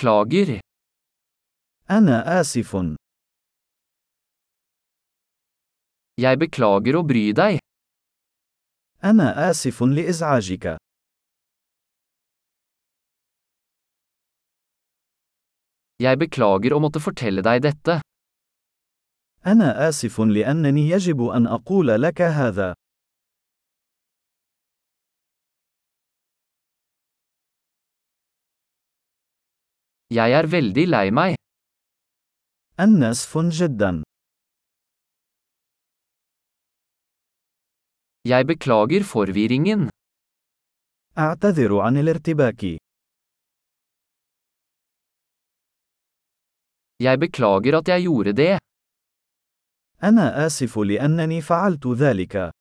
Beklager. أنا آسف. Jeg beklager å bry deg. أنا آسف لإزعاجك. Jeg beklager å måtte fortelle deg dette. أنا آسف لأنني يجب أن أقول لك هذا. Jeg er veldig lei meg. أنا آسف جدا. Jeg beklager forvirringen. أعتذر عن الارتباك. Jeg beklager at jeg gjorde det. أنا آسف لأنني فعلت ذلك.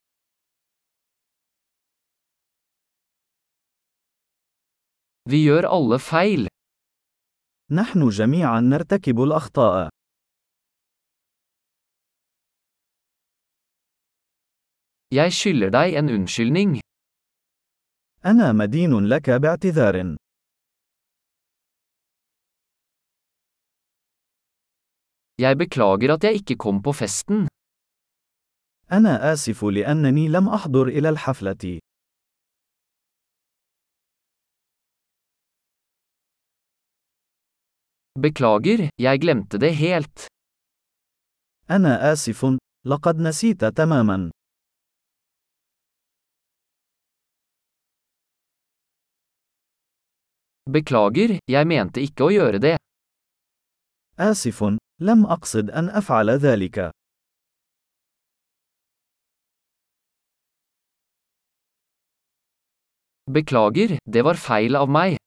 Vi gjør alle feil. نحن جميعا نرتكب الأخطاء. Jeg skylder deg en unnskyldning. أنا مدين لك باعتذار. Jeg beklager at jeg ikke kom på festen. أنا آسف لأنني لم أحضر إلى الحفلة. Beklager, jeg glemte det helt. أنا آسف. لقد نسيت تماما. Beklager, jeg mente ikke å gjøre det. آسف. لم أقصد أن أفعل ذلك. Beklager, det var feil av meg.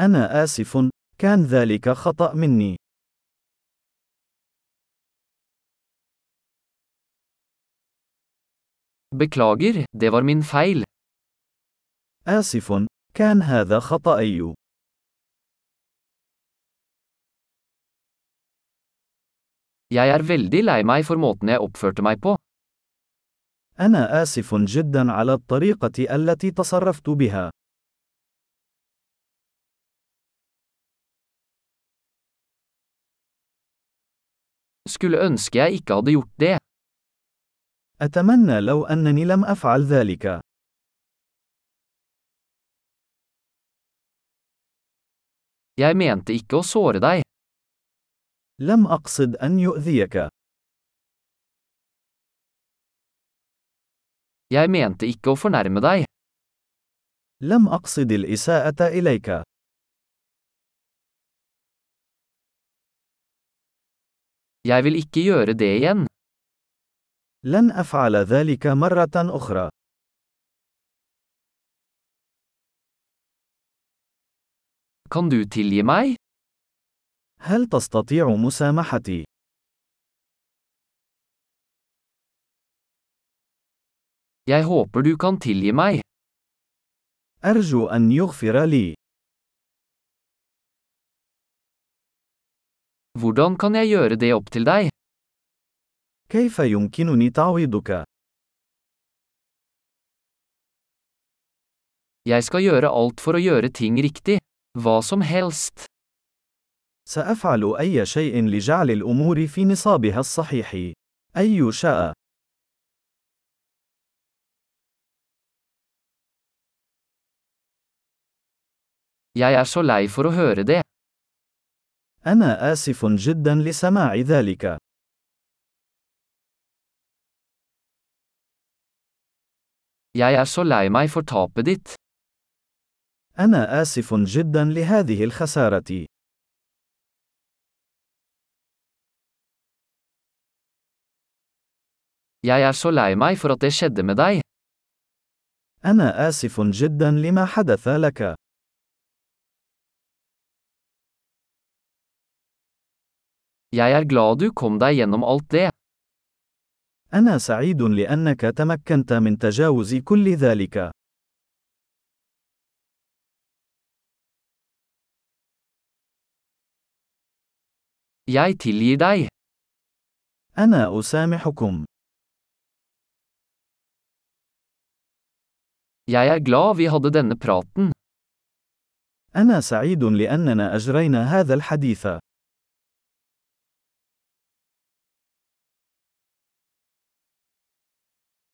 أنا آسف. كان ذلك خطأ مني. Beklager, det var min feil. آسف. كان هذا خطأي. Jeg er veldig lei meg for måten jeg oppførte meg på. أنا آسف جدا على الطريقة التي تصرفت بها. Skulle ønske jeg ikke hadde gjort det. أتمنى لو أنني لم أفعل ذلك. Jeg mente ikke å såre deg. لم أقصد أن يؤذيك. Jeg mente ikke å fornærme deg. لم أقصد الإساءة إليك. Jeg vil ikke gjøre det igjen. لن أفعل ذلك مرة أخرى. Kan du tilgi meg? هل تستطيع مسامحتي؟ Jeg håper du kan tilgi meg. أرجو أن يغفر لي. Hvordan kan jeg gjøre det opp til deg? كيف يمكنني تعويضك؟ Jeg skal gjøre alt for å gjøre ting riktig. Hva som helst. سأفعل أي شيء لجعل الأمور في نصابها الصحيح. أي شاء. Jeg er så lei for å høre det. أنا آسف جدا لسماع ذلك. Jeg er så lei meg for tapet ditt. أنا آسف جدا لهذه الخسارة. Jeg er så lei meg for at det skjedde med deg. أنا آسف جدا لما حدث لك. Jeg er glad du kom deg gjennom alt det. أنا سعيد لأنك تمكنت من تجاوز كل ذلك. Jeg tilgir deg. أنا أسامحكم. Jeg er glad vi hadde denne praten. أنا سعيد لأننا أجرينا هذا الحديث.